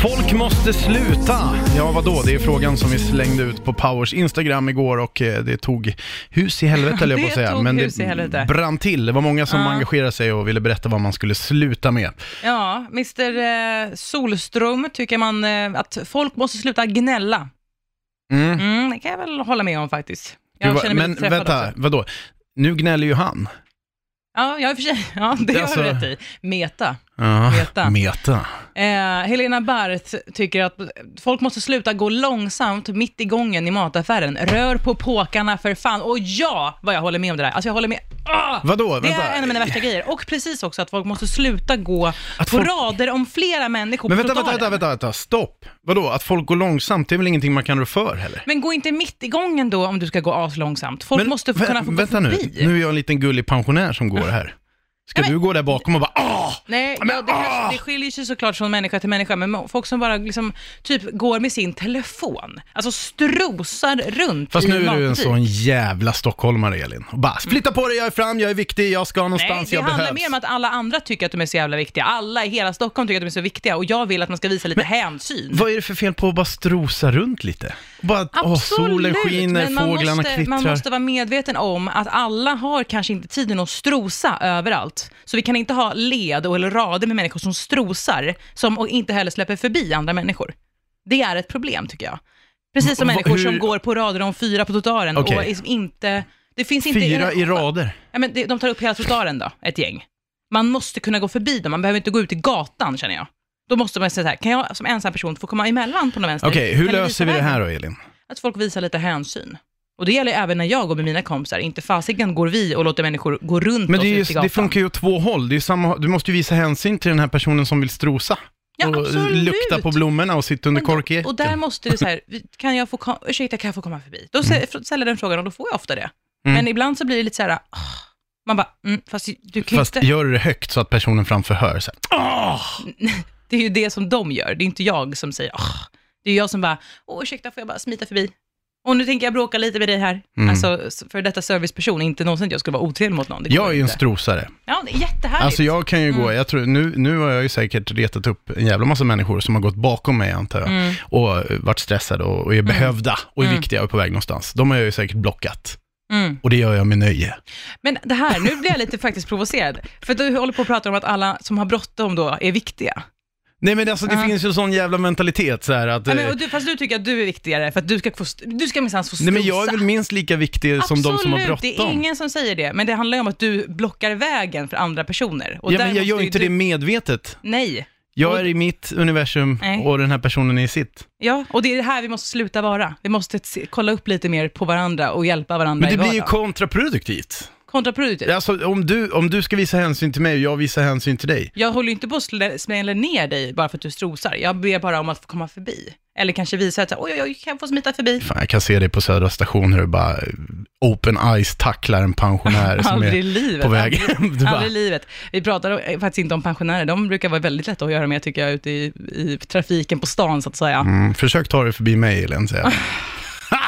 Folk måste sluta! Ja, vadå? Det är frågan som vi slängde ut på Powers Instagram igår och eh, det tog hus i helvete, höll jag på att Det säga. tog hus i helvete. brann till. Det var många som Ja. engagerade sig och ville berätta vad man skulle sluta med. Ja, Mr eh, Solström tycker man eh, att folk måste sluta gnälla. Mm. Mm, det kan jag väl hålla med om faktiskt. Du Jag var- känner mig men lite träffad vänta, också. vadå? Nu gnäller ju han. Ja, jag är för sig, ja, det Alltså- har du rätt i. Meta. Ja, Meta. Meta. Eh, Helena Barth tycker att folk måste sluta gå långsamt mitt i gången i mataffären. Rör på påkarna för fan. Och ja, vad jag håller med om det där. Alltså jag håller med. Ah! Vadå? Det Vänta. är en av mina värsta grejer. Och precis också att folk måste sluta gå Att på folk- rader om flera människor Men på vänta, vänta, trottoaren. vänta, vänta, vänta, stopp. Vadå, att folk går långsamt, det är väl ingenting man kan rå för heller? Men gå inte mitt i gången då om du ska gå aslångsamt. Folk Men måste få vä- kunna få gå Vänta nu, förbi. nu är jag en liten gullig pensionär som går här. Ska Nej, du gå där bakom och bara ah! Nej, Men, ja, det, ah! kanske, det skiljer sig såklart från människa till människa, men mo- folk som bara liksom, typ går med sin telefon, alltså strosar runt Fast i nu är du en matbutik. sån jävla stockholmare Elin. Och bara, flytta på dig, jag är fram, jag är viktig, jag ska Mm. Nej, någonstans, det jag handlar behövs. mer om att alla andra tycker att de är så jävla viktiga. Alla i hela Stockholm tycker att de är så viktiga och jag vill att man ska visa lite hänsyn. Vad är det för fel på att bara strosa runt lite? Och bara, åh, solen skiner, men man fåglarna måste, kvittrar. man måste vara medveten om att alla har kanske inte tiden att strosa överallt. Så vi kan inte ha led och eller rader med människor som strosar, som och inte heller släpper förbi andra människor. Det är ett problem tycker jag. Precis som Va- människor hur- som går på rader om fyra på trottoaren Okej. och liksom inte... Det finns inte Fyra i rader. Ja, men det, de tar upp hela trottoaren då, ett gäng. Man måste kunna gå förbi dem, man behöver inte gå ut i gatan känner jag. Då måste man säga så här, kan jag som ensam person få komma emellan på någon vänster? Okej, hur Kan ni löser visa vi det vägen? här då Elin? Att folk visar lite hänsyn. Och det gäller ju även när jag går med mina kompisar, inte fasiken går vi och låter människor gå runt Men oss det, är ut i ju, gatan. det funkar ju åt två håll. Det är ju samma, du måste ju visa hänsyn till den här personen som vill strosa. Ja, och absolut. lukta på blommorna och sitta under Men då- korkeken. Och där måste du så här, vi- kan jag få, kom- ursäkta, kan jag få komma förbi? Då sä- f- ställer den frågan och då får jag ofta det. Mm. Men ibland så blir det lite så här, ah, man bara, mm, fast du kan ju Fast inte... gör det högt så att personen framför hör. Så här. Det är ju det som de gör, det är inte jag som säger "Ah." Det är jag som bara, åh ursäkta, får jag bara smita förbi? Och nu tänker jag bråka lite med dig här. Mm. Alltså, s- för detta serviceperson, inte någonsin att jag skulle vara otrevlig mot någon. Det går Jag är ju en inte. strosare. Ja, det är jättehärligt. Alltså jag kan ju Mm. gå, jag tror, nu, nu har jag ju säkert retat upp en jävla massa människor som har gått bakom mig antar Mm. jag. Och eh, varit stressade och, och är behövda och är viktiga och är på väg någonstans. De har jag ju säkert blockat. Mm. Och det gör jag med nöje. Men det här, nu blir jag lite faktiskt provocerad. För du håller på att prata om att alla som har bråttom då är viktiga. Nej men alltså det finns ju en sån jävla mentalitet så här att... Ja, eh, men, och du, fast du tycker att du är viktigare för att du ska, få, st- du ska minsann få strosa. Nej men jag är väl minst lika viktig som de som har Absolut, bråttom. det är ingen som säger det. Men det handlar ju om att du blockar vägen för andra personer. Och Ja, där men jag måste gör ju inte du... det medvetet. Nej. Jag Och- är i mitt universum Nej. och den här personen är i sitt. Ja, och det är det här vi måste sluta vara. Vi måste se, kolla upp lite mer på varandra och hjälpa varandra Men det i blir ju vardagen. kontraproduktivt. kontraproduktivt. Alltså om du, om du ska visa hänsyn till mig och jag visar hänsyn till dig. Jag håller ju inte på att slä- smälla ner dig bara för att du strosar. Jag ber bara om att få komma förbi. Eller kanske visa att så här, oj, oj, oj, kan jag få smita förbi? Fan, jag kan se dig på Södra station hur du bara eh, open eyes tacklar en pensionär som Aldrig i är livet. på väg. Aldrig, Du bara, aldrig i livet. Vi pratar om- eh, faktiskt inte om pensionärer. De brukar vara väldigt lätta att göra med, tycker jag, ute i, i trafiken på stan, så att säga. mm, försök ta dig förbi mig Elin, säger jag.